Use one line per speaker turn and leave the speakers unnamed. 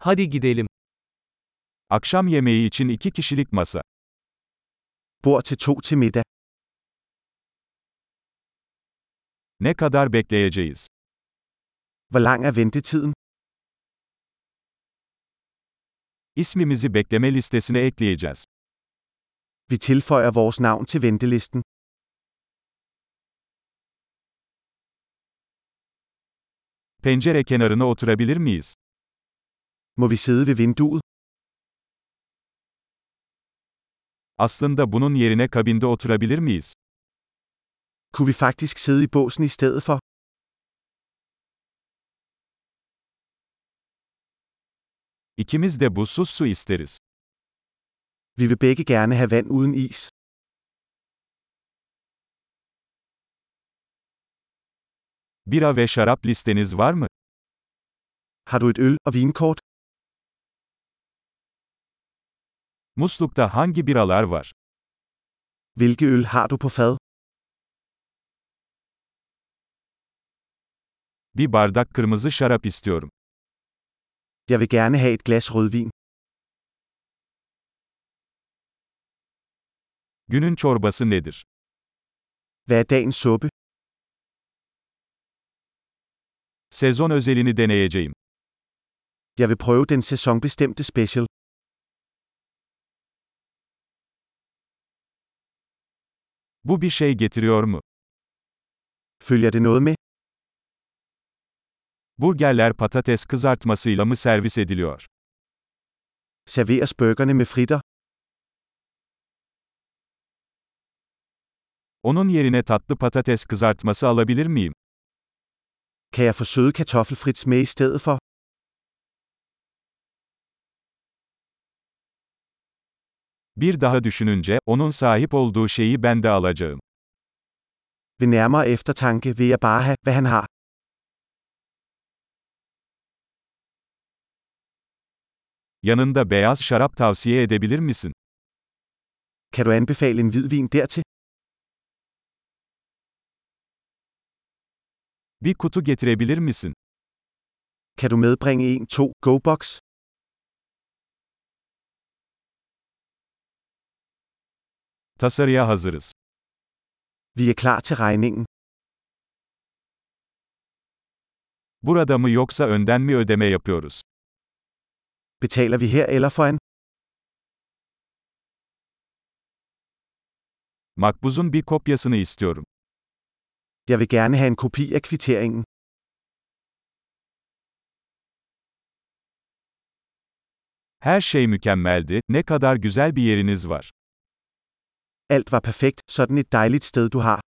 Hadi gidelim.
Akşam yemeği için iki kişilik masa.
Bord til to til middag.
Ne kadar bekleyeceğiz?
Hvor lang er ventetiden?
İsmimizi bekleme listesine ekleyeceğiz.
Vi tilføjer vores navn til ventelisten.
Pencere kenarına oturabilir miyiz?
Må vi sidde ved vinduet?
Aslında bunun yerine kabinde oturabilir miyiz?
Kunne vi faktisk sidde i båsen i stedet for?
İkimiz de buzsuz su isteriz.
Vi vil begge gerne have vand uden is.
Bira ve şarap listeniz var mı?
Har du et øl og vinkort?
Muslukta hangi biralar var?
Hvilke øl har du på fad?
Bir bardak kırmızı şarap istiyorum.
Jeg vil gerne have et glas rødvin.
Günün çorbası nedir?
Hvad er dagens suppe?
Sezon özelini deneyeceğim.
Jeg vil prøve den sæsonbestemte special.
Bu bir şey getiriyor mu?
Følger det noget med?
Burgerler patates kızartmasıyla mı servis ediliyor?
Serveres burgerne med fritter?
Onun yerine tatlı patates kızartması alabilir miyim?
Kan jeg få søde kartoffelfrits med i stedet for?
Bir daha düşününce, onun sahip olduğu şeyi ben de alacağım.
Ved nærmere eftertanke vil jeg bare have, hvad han har.
Yanında beyaz şarap tavsiye edebilir misin?
Kan du anbefale en hvidvin dertil?
Bir kutu getirebilir misin?
Kan du medbringe en 2 go-box?
Tasarıya hazırız.
Vi er klar til regningen.
Burada mı yoksa önden mi ödeme yapıyoruz?
Betaler vi her eller foran?
Makbuzun bir kopyasını istiyorum.
Jeg vil gerne have en kopi af kvitteringen.
Her şey mükemmeldi, ne kadar güzel bir yeriniz var.
Alt var perfekt, sådan et dejligt sted du har.